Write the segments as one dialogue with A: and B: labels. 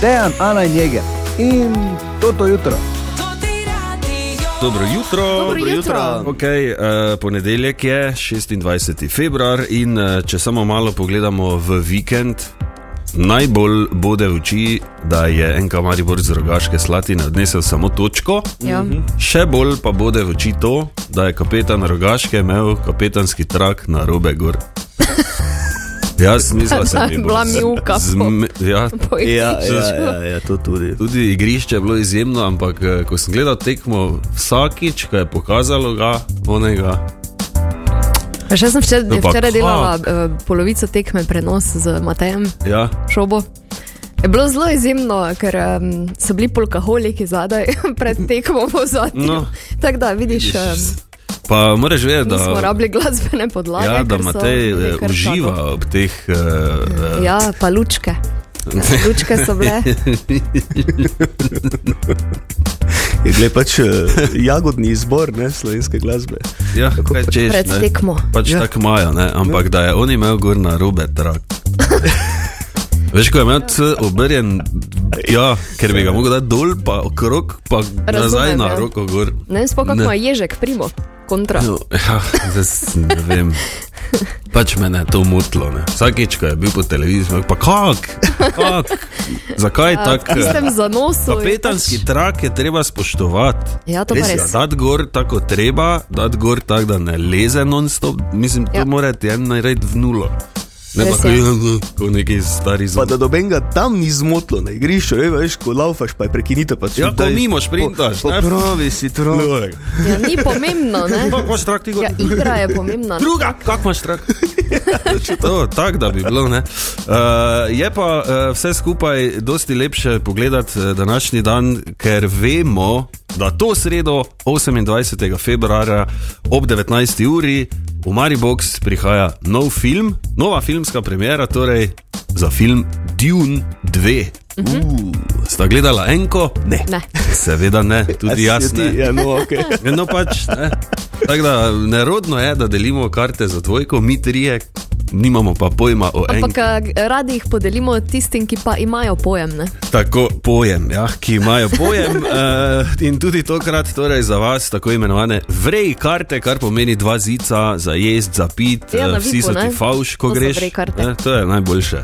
A: Dejan, Ana in Jeger in toto jutro.
B: Dobro jutro.
C: Dobro jutro.
B: Okay, uh, ponedeljek je 26. februar in uh, če samo malo pogledamo v vikend, najbolj bode v oči, da je NK Maribor z rogaške slatine odnesel samo točko.
C: Ja.
B: Še bolj pa bode v oči to, da je kapetan rogaške imel kapetanski trak na robe gor. Ja, Jaz mislim, da sem jim
C: Bila mivka po-
B: Ja,
C: Pojdite.
D: Ja, ja, ja, ja, to tudi.
B: Tudi igrišče je bilo izjemno, ampak eh, ko sem gledal tekmo, vsakič, ko je pokazalo ga, onega.
C: A Še sem včeraj,
B: Ampak
C: včeraj
B: kak?
C: delala uh, polovico tekme prenos z Matejem
B: Ja,
C: Šobo. Je bilo zelo izjemno, ker um, so bili polkaholiki zadaj, pred tekmo v zadnjem.
B: No.
C: Tako da vidiš, um,
B: pa moraš vedeti,
C: da, nismo
B: da,
C: rabili glasbene podlage.
B: ja, da
C: ker so
B: Matej
C: bili
B: eh,
C: kar tako.
B: uživa ob teh. eh, eh,
C: Ja, pa lučke. Lučke so bile.
D: Je gled pač eh, jagodni izbor ne, slovenske glasbe.
B: Ja, kaj češ,
C: pred
B: ne.
C: tekmo.
B: Pač ja.
D: Ja.
B: tako imajo, ne, ampak da je on imel gor na robe trak. Veš, ko je imel C obrjen, ja, ker bi ga mogel dati dol, pa okrog, pa nazaj
C: Razumem,
B: na
C: ja.
B: roko gor.
C: Ne vem, spokaj
B: Ne.
C: ima ježek, primo, kontra.
B: No, ja, zdaj s- ne vem. Pač me je to motilo. ne. Vsakič, ko je bil po televiziji, pa kak, kak? zakaj
C: Ja,
B: tako? eh,
C: v tistem zanosu. je
B: Kapetanski trak je treba spoštovati.
C: pač." Ja, to pa
B: je,
C: res.
B: Dati gor tako kot treba, dati gor tako, da ne leze non-stop. Mislim, to ja.
C: Ja.
B: mora ti en narediti v nulo. Ne
C: Res
B: pa "Ja,
C: je.
B: kot neki stari zgodb.
D: Pa da dobenga tam ni zmotlo na igrišču, ve, veš, ko laufaš, pa je prekinite. pač Pa
B: Ja, ko mimo šprintaš, ne?
D: Pravi si trojno.
C: pač- Ja, ni pomembno, ne?
B: Kako imaš trak ti gor?
C: Ja, igra je pomembna.
B: Druga, kako imaš strah? to, tak, da bi bilo, ne. Uh, je pa uh, vse skupaj dosti lepše pogledati eh, današnji dan, ker vemo, da to sredo, 28. februarja ob 19. uri v Maribox prihaja nov film, nova filmska premjera, torej za film Dune 2. Uh, sta gledala enko? Ne.
C: Ne.
B: Seveda ne, tudi jaz ne.
D: Ja, no, okay.
B: No, pač, ne. Tako da nerodno je, da delimo karte za dvojko, mi trije, nimamo pa pojma o
C: Ampak eh,
B: enem.
C: a, g- radi jih podelimo tistim, ki pa imajo pojem. Ne?
B: Tako pojem, ja, ki imajo pojem. Uh, in tudi tokrat torej za vas tako imenovane vrej karte, kar pomeni dva zica za jesti, za pit,
C: Ja, na
B: eh, vsi
C: Vipu,
B: so
C: ne.
B: ti favš, ko
C: To so
B: greš.
C: vrej karte.
B: Ne, to je najboljše.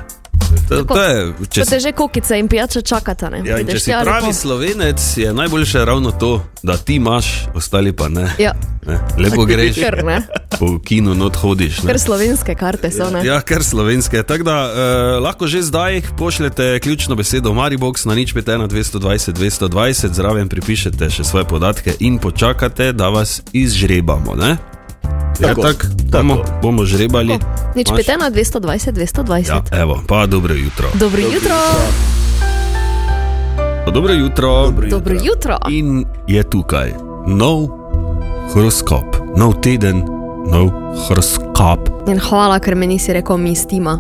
B: To,
C: Tako.
B: to je, če
C: Če
B: si
C: te že kokice in pijače čakata, ne?
B: Ja, in če
C: Ideš
B: si
C: tja,
B: pravi
C: lepo.
B: slovenec, je najboljše ravno to, da ti imaš, ostali pa ne.
C: Ja.
B: ne. Lepo greš,
C: Kar, ne?
B: po kinu not hodiš. Ne.
C: Ker slovenske karte so, ne?
B: Ja, kar slovenske. Tako da eh, lahko že zdaj pošljete ključno besedo Maribox na nič 51 220 220, zraven pripišete še svoje podatke in počakate, da vas izžrebamo. Ne? Ja,
D: Tako,
B: tak, bomo,
D: tako.
B: bomo žrebali.
C: Nič
B: Imaš-
C: petena, 220, 220.
B: Ja, evo, pa dobro jutro.
C: Dobro jutro,
B: Dobro jutro. Dobro
C: dobro jutro.
B: In je tukaj nov horoskop, nov teden, nov horoskop.
C: In hvala, ker me nisi rekel, mi stima.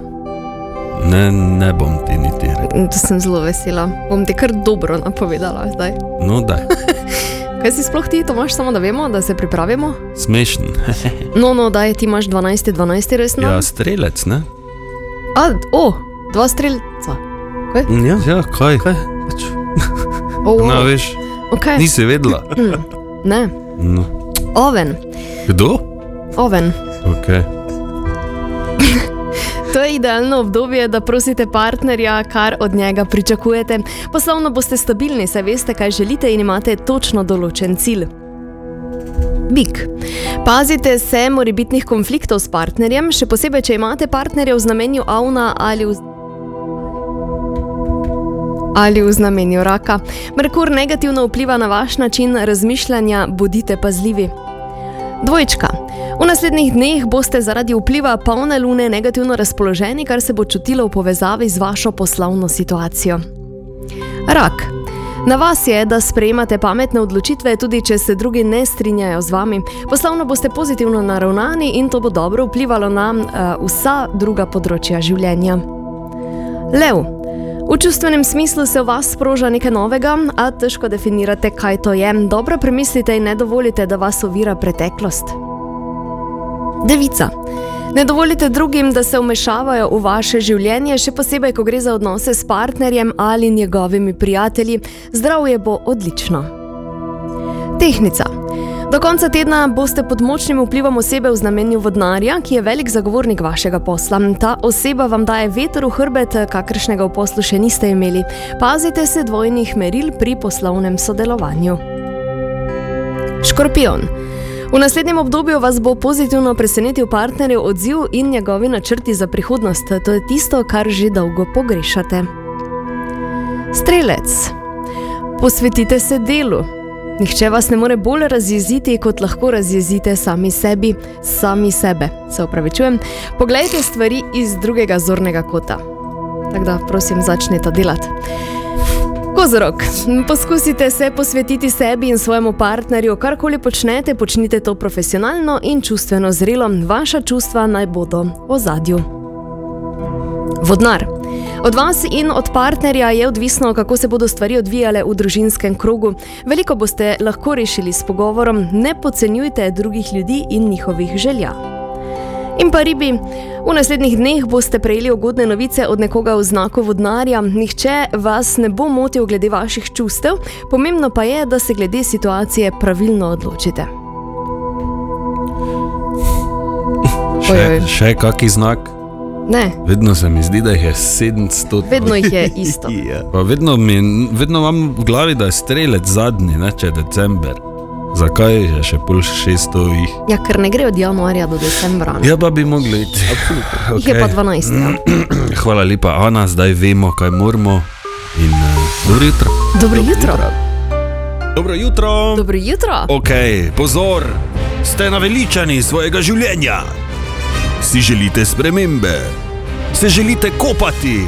B: Ne, ne bom ti niti rekel.
C: In To sem zelo vesela. Bom ti kar dobro napovedala zdaj.
B: No, da,
C: Kaj si sploh ti, to imaš samo, da vemo, da se pripravimo?
B: smešen.
C: No, no, daj, ti imaš 12, 12, resno.
B: Ja, strelec, ne?
C: A, o, dva strelca.
B: Ja, ja kaj? kaj? Pač,
C: O, o.
B: na, veš,
C: Okay.
B: nisi vedela.
C: Ne,
B: No.
C: oven,
B: Kdo?
C: oven.
B: Okay.
C: To je idealno obdobje, da prosite partnerja, kar od njega pričakujete. Poslovno boste stabilni, saj veste, kaj želite in imate točno določen cilj. Bik. Pazite se morebitnih konfliktov s partnerjem, še posebej, če imate partnerja v znamenju avna ali v ali v znamenju raka. Merkur negativno vpliva na vaš način razmišljanja, bodite pazljivi. Dvojčka. V naslednjih dneh boste zaradi vpliva polne lune negativno razpoloženi, kar se bo čutilo v povezavi z vašo poslovno situacijo. Rak. Na vas je, da sprejemate pametne odločitve, tudi če se drugi ne strinjajo z vami. Poslovno boste pozitivno naravnani in to bo dobro vplivalo na uh, vsa druga področja življenja. Lev. V čustvenem smislu se v vas sproža nekaj novega, a težko definirate, kaj to je. Dobro premislite in ne dovolite, da vas ovira preteklost. Devica. Ne dovolite drugim, da se vmešavajo v vaše življenje, še posebej, ko gre za odnose s partnerjem ali njegovimi prijatelji. Zdravje bo odlično. Tehnica. Do konca tedna boste pod močnim vplivom osebe v znamenju vodnarja, ki je velik zagovornik vašega posla. Ta oseba vam daje veter v hrbet, kakršnega v poslu še niste imeli. Pazite se dvojnih meril pri poslovnem sodelovanju. Škorpion. V naslednjem obdobju vas bo pozitivno presenetil partnerjev odziv in njegovi načrti za prihodnost. To je tisto, kar že dolgo pogrešate. Strelec. Posvetite se delu. Nihče vas ne more bolj razjeziti, kot lahko razjezite sami sebi, sami sebe. Se upravičujem. Poglejte stvari iz drugega zornega kota. Tako da, prosim, začnite delati. Kozorog, poskusite se posvetiti sebi in svojemu partnerju. Karkoli počnete, počnite to profesionalno in čustveno zrelo. Vaša čustva naj bodo v ozadju. Vodnar. Od vas in od partnerja je odvisno, kako se bodo stvari odvijale v družinskem krogu. Veliko boste lahko rešili s pogovorom, ne podcenjujte drugih ljudi in njihovih želja. In pa ribi, v naslednjih dneh boste prejeli ugodne novice od nekoga v znaku vodnarja, nihče vas ne bo motil glede vaših čustev, pomembno pa je, da se glede situacije pravilno odločite. Ojoj.
B: Še, še kaki znak.
C: Ne,
B: Vedno se mi zdi, da jih je 700.
C: vedno jih je isto.
D: Ja.
B: Pa vedno, mi, vedno imam v glavi, da je strelec zadnji, ne, če je december. Zakaj je še pol 600 jih?
C: Ja, ker ne gre od januarja do decembra. ne.
B: Ja, pa bi mogli iti.
C: Jih je pa 12. Ja.
B: Hvala lepa, Ana, zdaj vemo, kaj moramo. In uh, dobro jutro.
C: Dobro jutro.
B: Dobro jutro.
C: Dobro jutro.
B: Ok, pozor, ste naveličani svojega življenja. Si želite spremembe, se želite kopati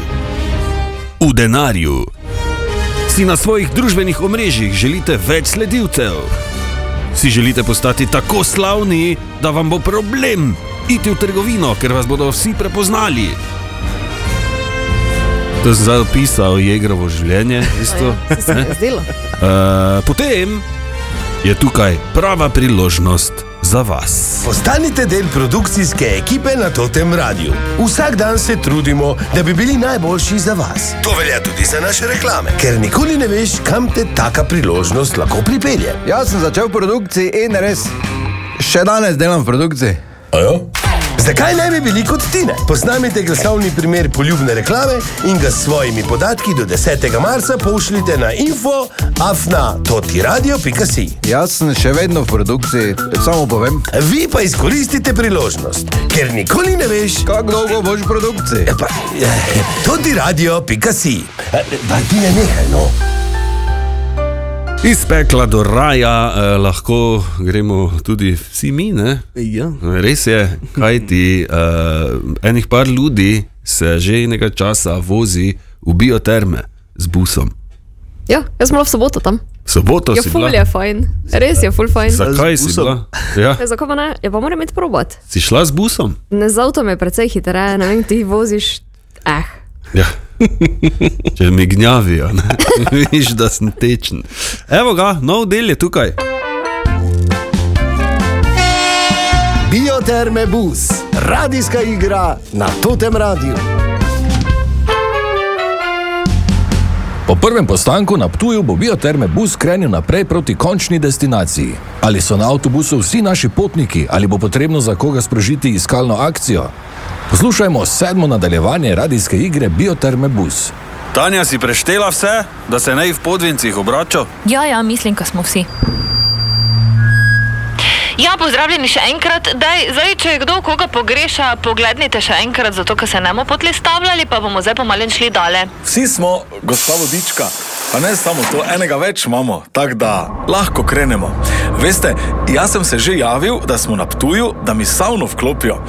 B: v denarju. Si na svojih družbenih omrežjih želite več sledilcev. Si želite postati tako slavni, da vam bo problem iti v trgovino, ker vas bodo vsi prepoznali. To sem zdaj opisal, je igrovo življenje. Isto,
C: Se se mi je zdelo.
B: Uh, potem je tukaj prava priložnost za vas.
E: Postanite del produkcijske ekipe na Totem Radiu. Vsak dan se trudimo, da bi bili najboljši za vas. To velja tudi za naše reklame, ker nikoli ne veš, kam te taka priložnost lahko pripelje.
A: Jaz Ja, sem začel v produkciji in res, še danes delam v produkciji.
E: Ajo? Zakaj ne bi bili kot Tine? Posnamite glasovni primer poljubne reklame in ga s svojimi podatki do 10. marca pošljite na info afna.totiradio.si.
A: Jaz sem še vedno v produkciji, samo povem,
E: Vi pa izkoristite priložnost, ker nikoli ne veš,
A: kako dolgo boš v produkciji.
E: Ja, Pa, eh, tudi radio, pika si. E, Ti ne nehaj, no.
B: Iz pekla do raja eh, lahko gremo tudi vsi mi, ne?
D: Ja.
B: Res je, kaj ti eh, enih par ljudi se že nekaj časa vozi v bioterme z busom.
C: Ja, jaz sem bila v soboto tam.
B: Soboto
C: Ja,
B: si
C: ful
B: bila.
C: je fajn. Res je, ful fajn.
B: Zakaj
D: Z
B: si
D: busom?
B: bila? Ja.
C: Ja, Zakaj pa ne? Ja, pa moram iti probat.
B: Si šla z busom?
C: Ne z avtom je precej hitreje, ne vem, ti voziš. Eh.
B: Ja. Če mi gnjavijo, ne? vidiš, da sem tečen. Evo ga, nov del je tukaj.
E: Bioterme bus, radijska igra na totem radiju.
F: Po prvem postanku na Ptuju bo bioterme bus krenil naprej proti končni destinaciji. Ali so na avtobusu vsi naši potniki, ali bo potrebno za koga sprožiti iskalno akcijo? Poslušajmo sedmo nadaljevanje radijske igre Bioterme bus.
B: Tanja si preštela vse, da se naj v podvincih obrača?
G: Ja, ja, mislim, da smo vsi. Ja, pozdravljeni še enkrat. Daj, zdaj, če je kdo koga pogreša, pogledajte še enkrat, zato ker se ne bomo potlistavljali, pa bomo zdaj pomalen šli dale.
H: Vsi smo, gospa vodička, pa ne samo to, enega več imamo, tako da lahko krenemo. Veste, jaz sem se že javil, da smo na Ptuju, da mi savno vklopijo.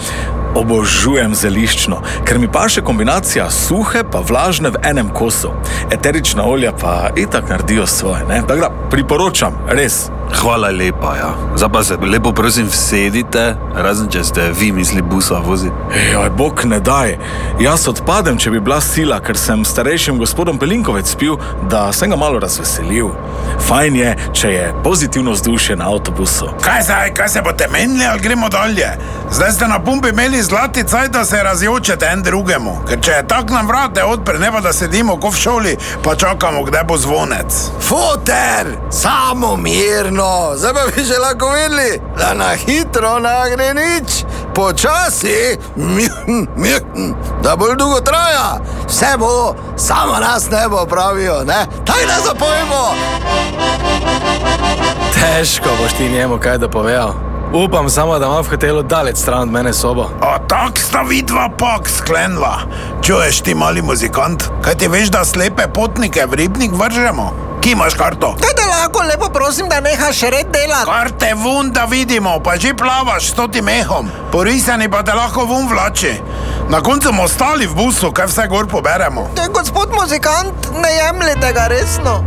H: Obožujem zeliščno, ker mi paše kombinacija suhe pa vlažne v enem kosu. Eterična olja pa itak naredijo svoje, ne? Tako da priporočam, res. Hvala lepa, ja. Zdaj pa se lepo prosim sedite, razen če ste vi misli busa voziti. Joj, bog ne daj. Jaz odpadem, če bi bila sila, ker sem starejšim gospodom Pelinkovec pil, da sem ga malo razveselil. Fajn je, če je pozitivno vzdušje na avtobusu.
I: Kaj zdaj, kaj se boste menili, ali gremo dalje? Zdaj ste na pumpi imeli zlati caj, da se razjočete en drugemu. Ker če je tak nam vrate odpre, ne pa da sedimo kot v šoli, pa čakamo, kdaj bo zvonec.
E: Foter, samo mirno, zdaj pa bi že lahko vedeli, da na hitro ne gre nič, počasi, mjn, mjn, da bolj dolgo traja, vse bo, samo nas ne bo pravijo, ne? Taj ne zapojmo!
J: Težko boš ti njemu kaj da povedal. Upam samo, da ima v hotelu daleč stran od mene sobo.
I: A tak sta vidva pak sklenila. Čuješ ti, mali muzikant, kaj ti veš, da slepe potnike v ribnik vržemo? Ki imaš karto?
K: Teda lahko lepo prosim, da nehaš red delati.
I: Karte vun, da vidimo, pa že plavaš s totim mehom, porisani pa te lahko vun vlači. Na koncu bomo ostali v busu, kaj vse gor poberemo.
K: To je gospod muzikant, ne jemljite ga resno.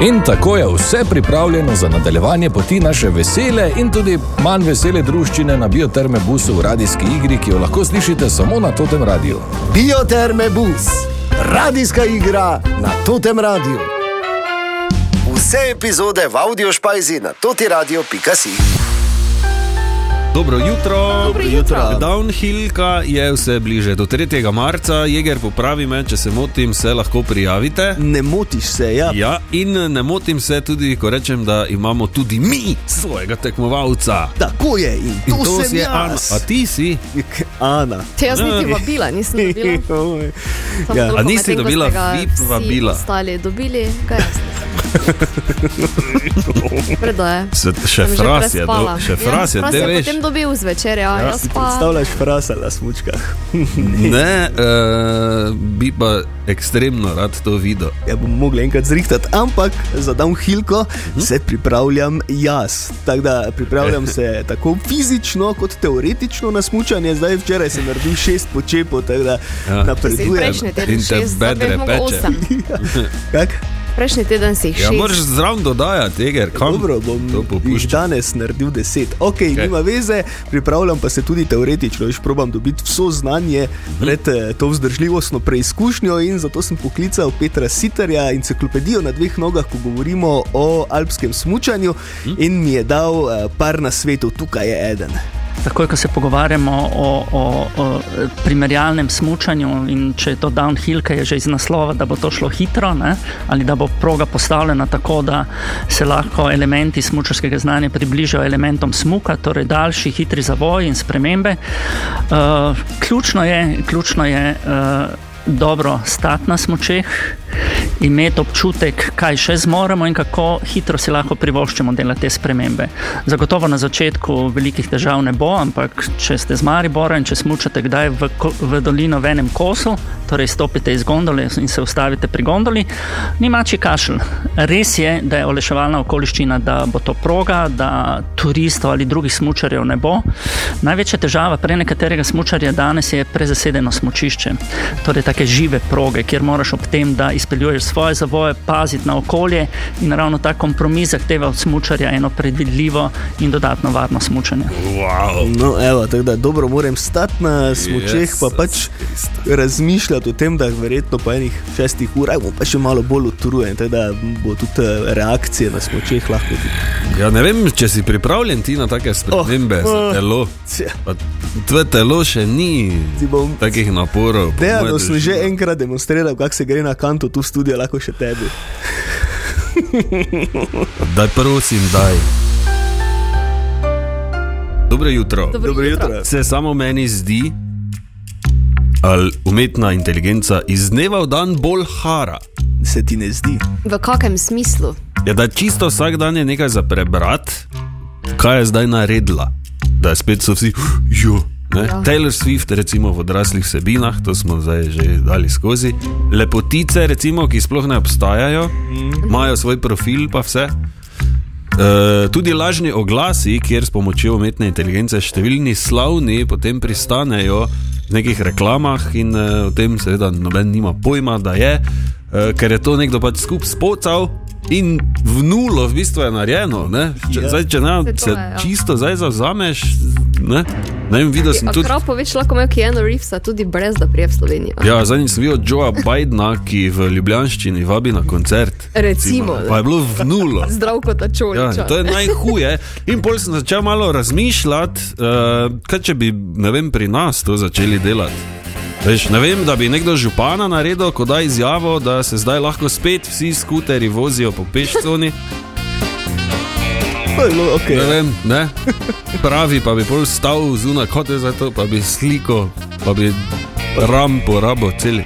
F: In tako je vse pripravljeno za nadaljevanje poti naše vesele in tudi manj vesele druščine na bioterme busu v radijski igri, ki jo lahko slišite samo na totem radiju.
E: Bioterme bus, radijska igra na totem radiju. Vse epizode v audio špajzi na totiradio.si.
B: Dobro jutro.
C: Dobro jutro.
B: Downhillka je vse bliže. Do 3. marca, Jeger popravi me, če se motim, se lahko prijavite.
D: Ne motiš se, ja.
B: Ja, in ne motim se tudi, ko rečem, da imamo tudi mi svojega tekmovalca.
D: Tako je in to,
B: In to
D: sem
B: si je Ana,
D: jaz.
B: a ti si,
D: Ana.
C: Če jaz niti vabila, nisem dobila.
D: Oj.
C: Samo
D: Ja.
C: toliko,
B: A nisi
C: medtem ko
B: dobila
C: ste ga
B: VIP
C: vsi
B: vabila?
C: Ostali dobili, kaj jaz nisem. Predaje.
B: Svet- še
C: Sem že
B: fras je,
C: prespala. Ja,
B: do- še fras je, te veš.
C: potem dobil zvečer, ja, jaz
D: Si
C: pa.
D: predstavljaš frasa na smučkah.
B: ne, uh, bi pa ekstremno rad to videl.
D: Ja, bom mogla enkrat zrihtati, ampak za downhillko se pripravljam jaz. Tako da pripravljam se tako fizično kot teoretično na smučanje. Zdaj včeraj sem naredil šest počepov, tako da
B: Ja.
C: Si
D: napredujem.
C: Prejšnji teden
B: In te
C: šest, zdaj
B: bedre
C: bi jih mogel
B: peče.
C: osem.
D: Kak?
C: Prejšnji teden si jih
B: Ja, moraš
C: šest.
B: zraven dodajati, Jeger, kam
D: Dobro, bom
B: to
D: jih
B: popuščal.
D: danes naredil deset. Ok, okay. nima veze, pripravljam pa se tudi teoretično, že probam dobiti vso znanje pred eh, to vzdržljivostno preizkušnjo in zato sem poklical Petra Siterja, enciklopedijo na dveh nogah, ko govorimo o alpskem smučanju
B: Hm?
D: in mi je dal eh, par na svetu, tukaj je eden.
L: Takoj, ko se pogovarjamo o, o, o primerjalnem smučanju, in če je to downhill, ki je že iz naslova, da bo to šlo hitro, ne? ali da bo proga postavljena tako, da se lahko elementi smučarskega znanja približajo elementom smuka, torej daljši, hitri zavoj in spremembe. Uh, ključno je, ključno je uh, dobro stati na smočeh, imeti občutek, kaj še zmoremo in kako hitro si lahko privoščimo delati te spremembe. Zagotovo na začetku velikih težav ne bo, ampak če ste z Maribora in če smučate kdaj v, ko- v dolino v enem kosu, torej stopite iz gondole in se ustavite pri gondoli, ni mači kašelj. Res je, da je oleševalna okoliščina, da bo to proga, da turistov ali drugih smučarjev ne bo. Največja težava prenekaterega smučarja danes je prezasedeno smučišče, torej take žive proge, kjer moraš ob tem, da izpeljuješ svoje zavoje, paziti na okolje in ravno ta kompromis zahteva od smučarja eno predvidljivo in dodatno varno smučanje.
B: Wow.
D: No, evo, tako da dobro moram stati na smočeh, pa
B: Jezus
D: pač razmišljati o tem, da verjetno po enih šestih urah bom pa še malo bolj utrujen, tako da bo tudi eh, reakcije na smočeh lahko tudi.
B: Ja, ne vem, če si pripravljen ti na take spremembe oh, za
D: oh.
B: telo.
D: Tja.
B: Pa Tvoje telo še ni
D: Ti bom-
B: takih naporov. po
D: Dejano
B: moje
D: sem
B: drži.
D: že enkrat demonstriral, kako se gre na kanto tu v studio, lahko še tebi.
B: Daj, prosim, daj. Dobro jutro.
C: Dobro
D: jutro.
B: Se samo meni zdi, ali umetna inteligenca iz dneva v dan bolj hara.
D: Se ti ne zdi?
C: V kakem smislu?
B: Ja, da čisto vsak dan je nekaj za prebrati, kaj je zdaj naredila. Da spet so vsi, jo. Ne? Taylor Swift, recimo v odraslih vsebinah, to smo zdaj že dali skozi. Lepotice, recimo, ki sploh ne obstajajo, imajo svoj profil, pa vse. E, tudi lažni oglasi, kjer s pomočjo umetne inteligence številni slavni potem pristanejo v nekih reklamah, in eh, e, o tem seveda noben nima pojma, da je, e, ker je to nekdo pač skupaj spocal In v nulo v bistvu je narejeno. ne. Če,
C: Ja.
B: zdaj, če ne,
C: Se to
B: se
C: je, ja.
B: čisto zdaj zavzameš, ne, ne vem, videl sem tudi.
C: Prav poveš, lahko imajo Kijano Reevesa, tudi brez da prije v Slovenijo.
B: Ja, zadnjič sem videl Joea Bidna, ki v Ljubljanščini vabi na koncert.
C: Recimo.
B: ne. Pa je bilo v nulo.
C: Zdrav kot
B: Ja,
C: ačolič.
B: in to je najhuje. In pol sem začel malo razmišljati, uh, kaj če bi ne vem, pri nas to začeli delati. Veš, ne vem, da bi nekdo župana naredil, ko da izjavo, da se zdaj lahko spet vsi skuteri vozijo po pešconi. Okay. Ne vem, ne? pravi pa bi pol stal zunaj, kot je za to, pa bi sliko, pa bi rampo rabo celi.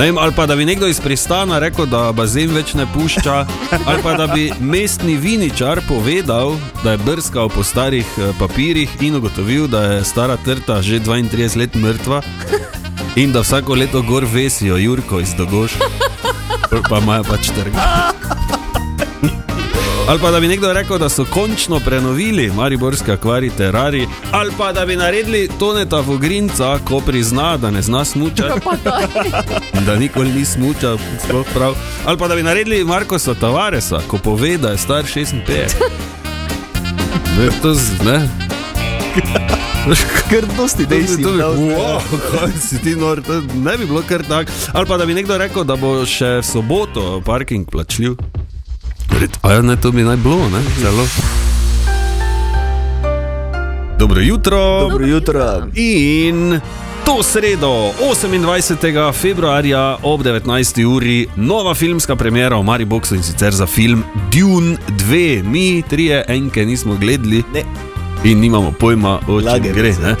B: Ne Vem, ali pa da bi nekdo iz pristana rekel, da bazen več ne pušča, ali pa da bi mestni viničar povedal, da je brskal po starih eh, papirjih in ugotovil, da je stara trta že 32 let mrtva in da vsako leto gor vesijo Jurko iz Dogoš, Pol pa imajo pač trg. Ali pa da bi nekdo rekel, da so končno prenovili Mariborski akvarij Terrari, ali pa da bi naredili Toneta Vogrinca, ko prizna, da ne zna smučati, da nikoli ni smučal, sploh prav. Ali pa da bi naredili Markosa Tavaresa, ko pove, da je star 56. Ne, to z, ne.
D: Ker dosti
B: dejstev. Wow, kaj si ti nor, to ne bi bilo kar tako. Ali pa da bi nekdo rekel, da bo še v soboto parking plačljiv. Red, A ja, ne, to bi naj bilo, ne? Zelo. Dobro jutro.
D: Dobro jutro.
B: In to sredo, 28. februarja ob 19. uri, nova filmska premjera v Mariboku in sicer za film Dune 2. Mi trije enke nismo gledali.
D: Ne.
B: In nimamo pojma, o čem
D: Lage
B: gre.
D: veze.
B: Ne?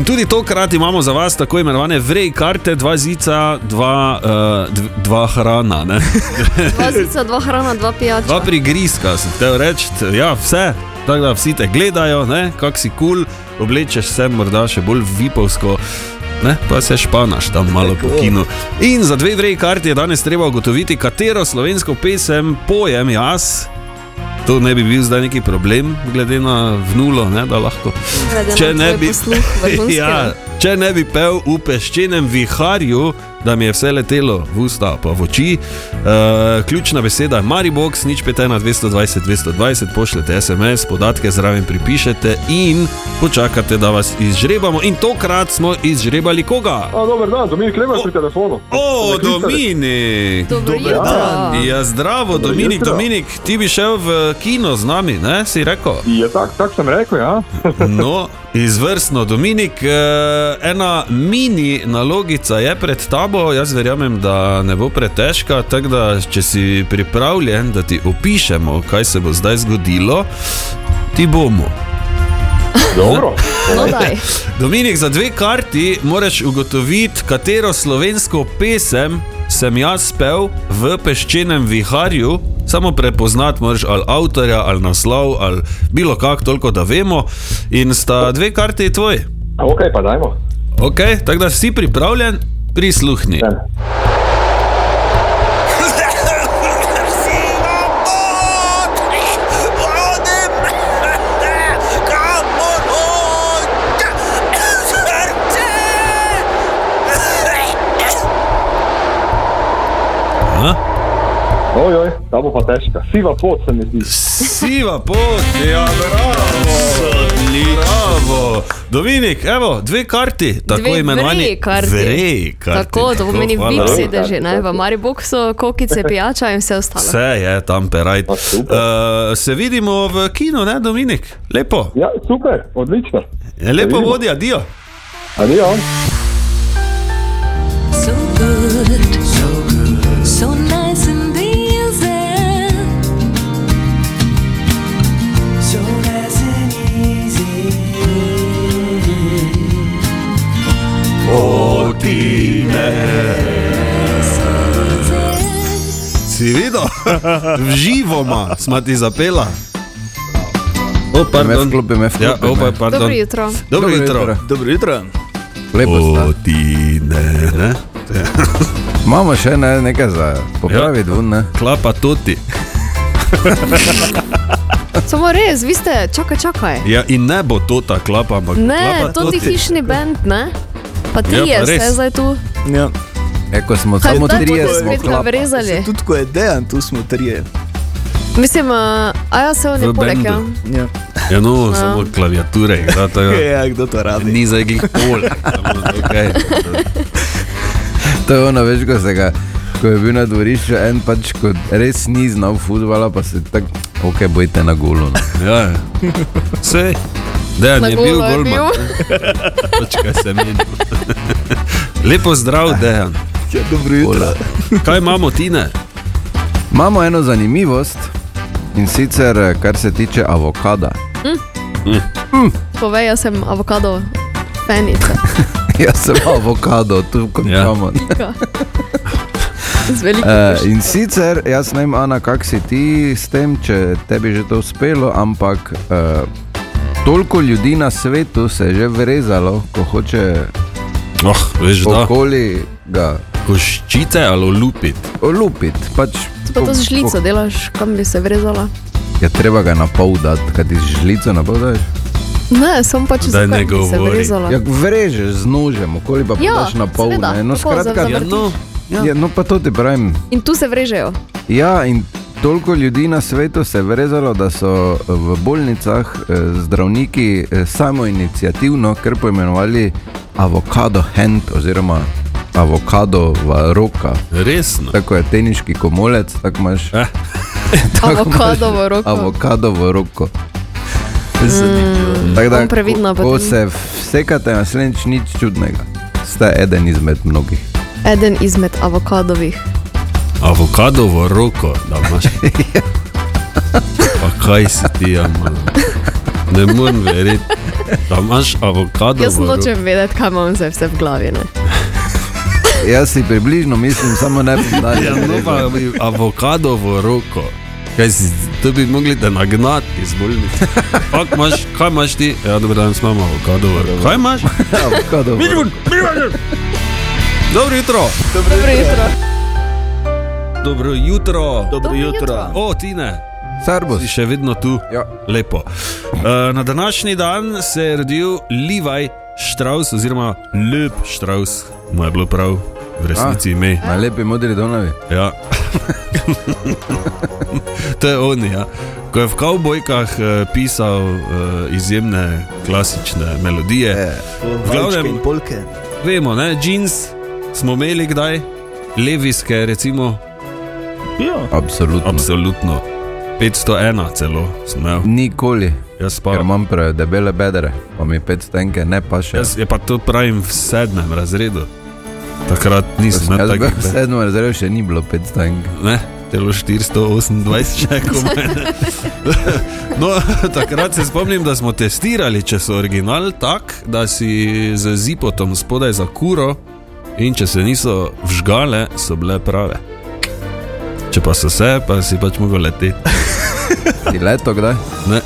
B: In tudi tokrat imamo za vas tako imenovane vrej karte, dva zica, dva, uh, dv, dva hrana. ne.
C: Dva zica, dva hrana, dva pijača.
B: Dva prigrizka, si te reči, ja, vse. Tako da vsi te gledajo, kako si kul, cool, oblečeš se morda še bolj vipovsko. Ne, pa se španaš tam malo po kinu. In za dve vrej karti je danes treba ugotoviti, katero slovensko pesem pojem jaz. To ne bi bil zdaj neki problem, glede na vnulo, ne, da lahko.
C: Glede na
B: Če ne
C: tvoj
B: bi,
C: posluh vrhunski,
B: ja, če ne bi pel v peščenem viharju, da mi je vse letelo v usta, pa v oči, uh, ključna beseda je Maribox, nič pete na 220, 220, pošljete SMS, podatke zraven pripišete in počakate, da vas izžrebamo. In tokrat smo izžrebali koga?
M: A, dober dan, Dominik Lemas pri telefonu.
B: O, Dominik!
M: Dobro Dober jutro. dan.
B: Ja, zdravo,
M: Dobro
B: Dominik,
M: jutro.
B: Dominik, ti bi šel v kino z nami, ne? si rekel?
M: Ja, tako tak sem rekel, ja.
B: no, izvrstno, Dominik, eh, ena mini nalogica je pred tabo, jaz verjamem, da ne bo pretežka, tako da če si pripravljen, da ti opišemo, kaj se bo zdaj zgodilo, ti bomo.
M: Dobro.
C: No, daj.
B: Dominik, za dve karti moraš ugotoviti, katero slovensko pesem sem jaz pel v peščenem viharju. Samo prepoznati moraš ali avtorja, ali naslov, ali bilo kako, toliko da vemo. In sta dve karti tvoji.
M: Ok, pa dajmo.
B: Ok, tako da si pripravljen, prisluhni.
M: Ja. Ojoj, ta bo pa težka. Siva pot se mi zdi.
B: Siva pot, ja, bravo, bravo. Dominik, evo, dve karti, tako
C: Dve
B: imenovani.
C: vrej karti.
B: Vrej karti,
C: Tako, to pomeni
B: hvala.
C: VIP sedeži, ne? V Mariboku so kokice, pijača in vse ostalo.
B: Vse je tam peraj.
M: No,
B: Uh, se vidimo v kinu, ne, Dominik? Lepo.
M: Ja, super, odlično.
B: Je lepo vodi, adijo.
M: Adijo.
N: So good, so good, so nice and easy. So nice and easy.
B: O, ti ne. Si videl? V živoma smo ti zapela. O, pardon. Vklopi me, vklopi ja, o, pa, pardon.
C: Dobro jutro.
B: Dobro jutro.
D: Dobro jutro.
A: Lepo
E: Oh.
B: O, ti ne. ne?
A: Imamo še ne, nekaj za popraviti, ja. ne?
B: Klapa toti.
C: Samo res, vi ste, čakaj, čakaj.
B: Ja, in ne bo to ta klapa, ampak
C: Ne,
B: klapa
C: to ti
B: toti.
C: hišni bend, ne? Pa ti
B: Ja,
C: je,
B: pa res.
C: vse zdaj tu.
D: Ja.
A: Eko smo
C: Kaj samo zdaj trije bodo smo spet klapa. navrezali?
D: Tudi ko je dejan, tu smo trije.
C: Mislim, uh, a ja se on je
B: V
C: poleg, ja.
B: bendu. Ja, no,
C: Ja.
B: samo klaviature. igra, tako da-
D: Ja, kdo to rabi?
B: Ni zdaj glih pol. samo okej.
A: To je ono, veš, ko se ga. Ko je bil na dvorišču, en pač kot res ni znal futbola, pa se tako, ok, bojte na golo. No.
B: Ja, ja. Sej, Dejan
C: Na
B: je bil
C: golo je
B: golman. Počkaj se meni. Lepo zdrav, Dejan.
D: Ja, dobro jutro.
B: Kaj imamo, Tine?
A: Imamo eno zanimivost in sicer eh, kar se tiče avokada.
C: Povej, jaz sem avokado fenica.
A: Jaz sem avokado, tu
D: Ja.
A: končamo.
C: Z
B: Eh,
C: veliko.
A: Uh, in sicer, jaz ne vem, Ana, kak si ti s tem, če tebi že to uspelo, ampak uh, toliko ljudi na svetu se je že vrezalo, ko hoče
B: Oh, veš, da.
A: okoli ga
B: Koščite ali olupiti.
A: olupiti. Pač,
C: Pa to z žlico delaš, kam bi se vrezala.
A: Je Ja, treba ga na pol dati, kaj ti z žlico na pol daš.
C: Ne, sem pač
A: Daj
C: zakaj bi se vrezala.
A: Ja, vrežeš z nožem, okoli pa
C: Ja,
A: podaš na pol.
C: seveda,
A: ne. no,
C: tako,
A: skratka,
C: zavrtiš. Ja, no, ja.
A: ja, no, pa to ti pravim.
C: In tu se vrežejo.
A: Ja, in toliko ljudi na svetu se je vrezalo, da so eh, v bolnicah eh, zdravniki eh, samoinicijativno kar poimenovali avokado hand oziroma avokado roka.
B: Resno.
A: Tako je teniški komolec, tako imaš.
B: Eh.
C: Avokadovo roko.
A: Avokadovo roko.
C: Mm,
A: Tako da,
C: bom previdna
A: ko, ko
C: potem.
A: se vsekate naslednjič, nič čudnega. Ste eden izmed mnogih.
C: Eden izmed avokadovih.
B: Avokadovo roko, da imaš. Pa kaj si ti, ampak. Ne morem verjeti, da imaš avokadovo
C: Jaz
B: roko.
C: nočem vedeti, kaj imam zdaj vse v glavi. Ne?
A: Jaz si približno mislim, samo ne bi znal.
B: Ja, no pa bi avokadovo roko. Kaj si, to bi mogli te nagnati iz bolnice. Pak imaš, kaj imaš ti? Ja, dobro, danes imamo avokadovo roko. Kaj imaš?
A: Avokado.
B: Miljun, miljun! Dobro jutro.
C: Dobro jutro.
B: Dobro jutro.
D: Dobro jutro.
B: O, Tine.
A: Servus.
B: Si še vedno tu.
A: Ja.
B: Lepo. Eh, Na današnji dan se je rodil Levi Strauss, oziroma Lep Strauss, mu je bilo prav, v resnici
A: A,
B: ime.
A: Na lepi modri Donavi.
B: Ja. to je on, ja. Ko je v kavbojkah eh, pisal eh, izjemne klasične melodije,
A: Ja.
B: v
D: Valčke
B: glavnem
D: in polke.
B: vemo, ne, jeans smo imeli kdaj, leviske, recimo.
D: Ja.
A: Absolutno.
B: Absolutno. 501 celo sem imel.
A: Nikoli.
B: Jaz pa.
A: Ker imam prav debele bedre, pa mi pet stenke ne paše.
B: Jaz je pa to pravim v sedmem razredu. Takrat
A: Ko
B: nisem
A: sem
B: na
A: jaz bil
B: takih
A: v sedmem razredu, še ni bilo pet stenk.
B: Ne, telo 428, če komaj. ne. No, takrat se spomnim, da smo testirali, če so original tak, da si z zipotom spodaj za kuro in če se niso vžgale, so bile prave. Če pa so se, pa si pač mogel leteti.
A: Ti leto kdaj?
B: Ne.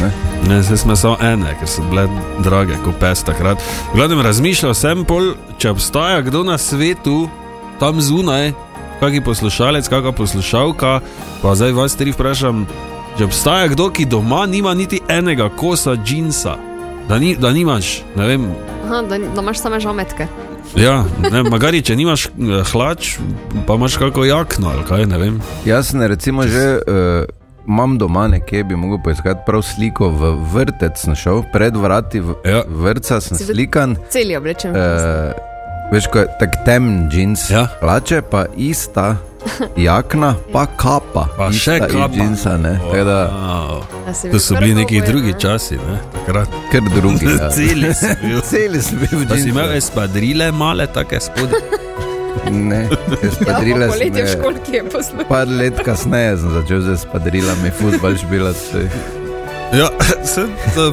A: Ne.
B: Ne, zdaj smo samo ene, ker so bile drage, kot pes takrat. V Glavnem razmišljal sem, pol, če obstaja kdo na svetu, tam zunaj, kaki poslušalec, kakšna poslušalka, pa zdaj vas tri vprašam, če obstaja kdo, ki doma nima niti enega kosa džinsa, da, ni, da nimaš, ne vem,
C: Aha, da, da imaš same žometke.
B: ja, ne, magari, če nimaš eh, hlač, pa imaš kako jakno ali kaj, ne vem.
A: Jaz ne recimo že. Uh, Imam doma nekje, bi mogel poiskati prav sliko v vrtec, sem šel pred vrati v, ja. vrca, sem
C: Si bil-
A: slikan.
C: Celi oblečen.
B: Eh,
A: Uh, veš, ko je tako temen džins, ja. plače pa ista jakna, pa kapa.
B: Pa
A: ista
B: še
A: iz
B: kapa.
A: Džinsa, ne? Tako da,
C: A Ja, si
B: To
C: bil
B: so
C: kar
B: bili neki
C: dvoboj,
B: drugi
C: ne?
B: časi, ne? takrat.
A: Ker drugi. Ja.
B: Celi si bil.
A: Celi si bil.
B: Pa si
A: džinsu.
B: imel espadrile, male take spodaj.
A: Ne,
C: Ja,
A: espadrile
C: pa
A: sem
C: poletje v
A: imel.
C: školki je poslušal.
A: Par let kasneje sem začel z espadrilami, futbol špilati.
B: Ja, se,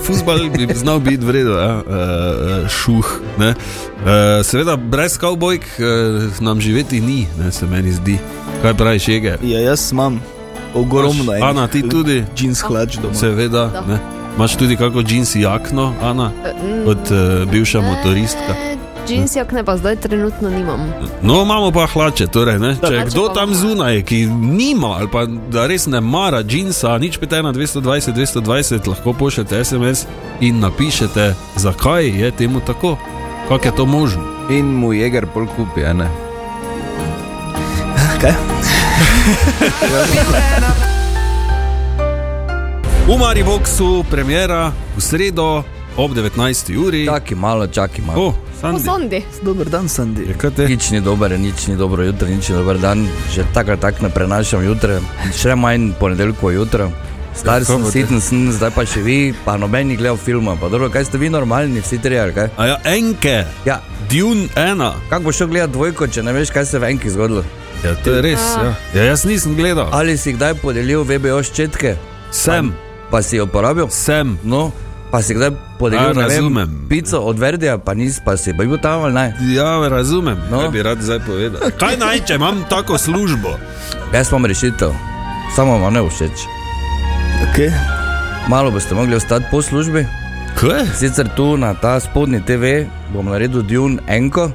B: futbal bi znal biti vredno, ja. uh, šuh. Ne? Eh, seveda, brez kavbojk uh, nam živeti ni, ne, se meni zdi. Kaj praviš, Jege?
D: Ja, jaz imam ogromno. enih
B: Ana, ti tudi?
D: Džins hlač doma.
B: Seveda, ne. Imaš tudi kako džins jakno, Ana,
C: mm.
B: kot uh, bivša motoristka.
C: Džins jakne Eh, pa zdaj trenutno nimam.
B: No, imamo pa hlače, torej, ne? če je
C: Hlače
B: kdo
C: pa
B: tam zunaj, ki nima ali pa da res ne mara džinsa, nič pete na 220, 220, lahko pošljete SMS in napišete, zakaj je temu tako, kako je to možno.
A: In mu jeger pol kupi, a ne?
D: Kaj?
B: V Mariboku premjera v sredo ob 19. uri.
O: Čakaj malo, čakaj malo.
B: O, Sandi.
C: Zondi.
D: Dober dan, Sandi.
O: Nič ni dober, nič ni dobro jutro, nič ni dober dan. Že tako tak ne prenašam jutra, še manj ponedeljko jutro. Star sem,
B: Kako te?
O: siten sem, zdaj pa še vi, pa noben ni gledal filma. Pa dobro, kaj ste vi normalni, vsi trije, ali kaj?
B: A ja, enke.
O: Ja.
B: Dune ena.
O: Kako boš šel gledati dvojko, če ne veš, kaj se je v enki zgodilo?
B: Ja, to je res, ja. ja jaz nisem gledal.
O: Ali si kdaj podelil VBO ščetke?
B: Sem.
O: Pa, pa si jo uporabil?
B: Sem.
O: No, pa si
B: A,
O: kdaj podelil ne vem,
B: razumem.
O: pico od Verdija, pa nisi pa si pa bil tam ali ne?
B: Ja, razumem. No. Kaj bi rad zdaj povedal? Kaj naj, če imam tako službo?
O: Jaz imam rešitev, samo vam ne všeč.
D: Okay.
O: Malo boste mogli ostati po službi.
B: Kaj?
O: Sicer tu na ta spodnji TV bom naredil Dune enko.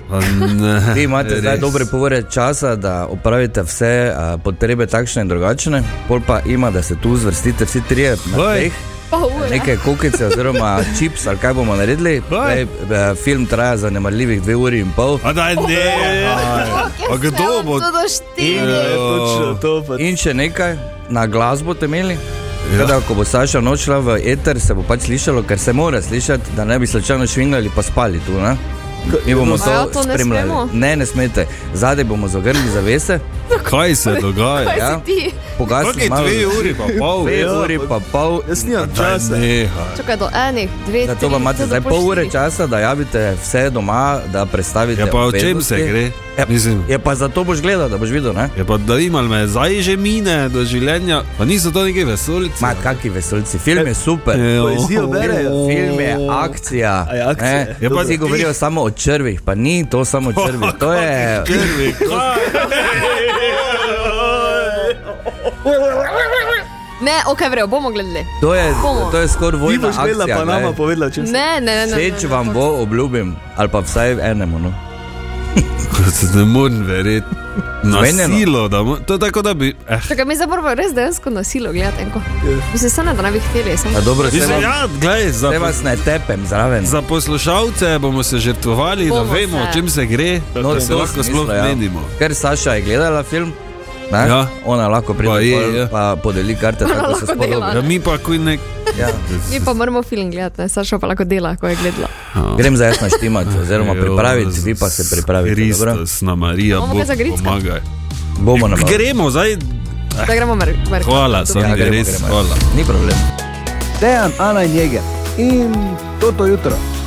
B: ne,
O: Vi imate res. zdaj
B: res.
O: dobre pol ure časa, da opravite vse a, potrebe takšne in drugačne, pol pa ima, da se tu zvrstite vsi trije na dveh.
C: Pol ure.
O: Neke kukice, oziroma čips, ali kaj bomo naredili. Zdaj, eh, film traja zanemarljivih dve uri in pol.
B: A daj, ne, a kdo bo? Eh,
C: To do štiri.
O: Ja. In še nekaj, na glas boste imeli. Ja. Da, ko bo Saša nočla v eter, se bo pač slišalo, ker se mora slišati, da ne bi slučajno švingali pa spali tu. Ne? Mi bomo
C: A ja,
O: to
C: to ne
O: spremljali.
C: smemo?
O: Ne, ne smete. Zadaj bomo zagrnili zavese.
B: Kaj se dogaja?
C: Kaj
O: Ja.
C: si ti?
O: Pogasili
B: Kakih
O: smo.
B: dve uri pa pol?
O: Dve uri Ja, pa pol.
D: Jaz nimam časa.
C: Čakaj do enih, dve,
O: Zato pa imate zdaj pol ure časa, da javite vse doma, da predstavite.
B: Ja, pa o čem
O: obveznosti.
B: se gre?
O: Ja,
B: Mislim.
O: ja, pa zato boš gledal, da boš videl. Ne?
B: Je pa da imam me zdaj že mine do življenja, pa niso to neki vesolci. Ma
O: kakšni vesolci, film je super.
D: Poezijo berejo.
O: Film je akcija.
D: E, A je
B: E,
D: akcija, Ja,
O: ne.
D: Je pa-
O: Vsi govorijo samo o črvih, pa ni to samo črvi. To je.
B: Črvi,
C: Ne, ok, vrejo, bomo gledali.
O: To je,
C: Bomo.
O: to je skoraj
D: Ti
O: vojna
D: boš vedela,
O: akcija.
D: pa nama povedala, o čem se-
C: Ne, ne, ne, ne.
O: Všeč vam bo, obljubim, ali pa vsaj enemu. No.
B: Ne morem verjeti.
O: Zmenjeno.
B: Nasilo, da mo, to je tako, da bi. Eh.
C: Čakaj, mi zdaj moramo res dejansko nasilo gledati enko. Mislim, se ne, da ne bi hteli, sem.
O: A dobro, se
B: Mislim,
O: vam-
B: ja, glej, za,
O: Te vas ne tepem zraven.
B: za poslušalce bomo se žrtvovali,
O: Bomo
B: da vemo,
O: se.
B: o čem se gre, no, da se
O: to
B: lahko
O: sem
B: sploh
O: mislil, ja.
B: menimo.
O: Ker Saša je gledala film, ne?
B: Ja.
O: ona lahko pride
B: Pa
O: pa,
B: je,
O: je,
B: ja.
O: pa podeli karte,
C: Ona
O: tako se
C: lahko dela,
O: spodobi.
C: ne? Ja,
B: mi pa kuj nek.
O: Ja.
C: Mi pa moramo film gledati, ne, Saša pa lahko dela, ko je gledala.
O: Grem za jasno štimati, oziroma pripraviti, vi pa se pripravite.
B: Kristus, na Marija,
C: Bomo
B: Bog
C: kaj zagrickali?
B: pomagaj.
O: Bomo na
B: Gremo zdaj.
O: Ah.
C: Da gremo, Marko.
B: Hvala, sem ja,
O: gremo,
B: res.
O: gremo.
B: Hvala.
O: Ni problem.
D: Dejan, Ana in Jeger. In toto jutro.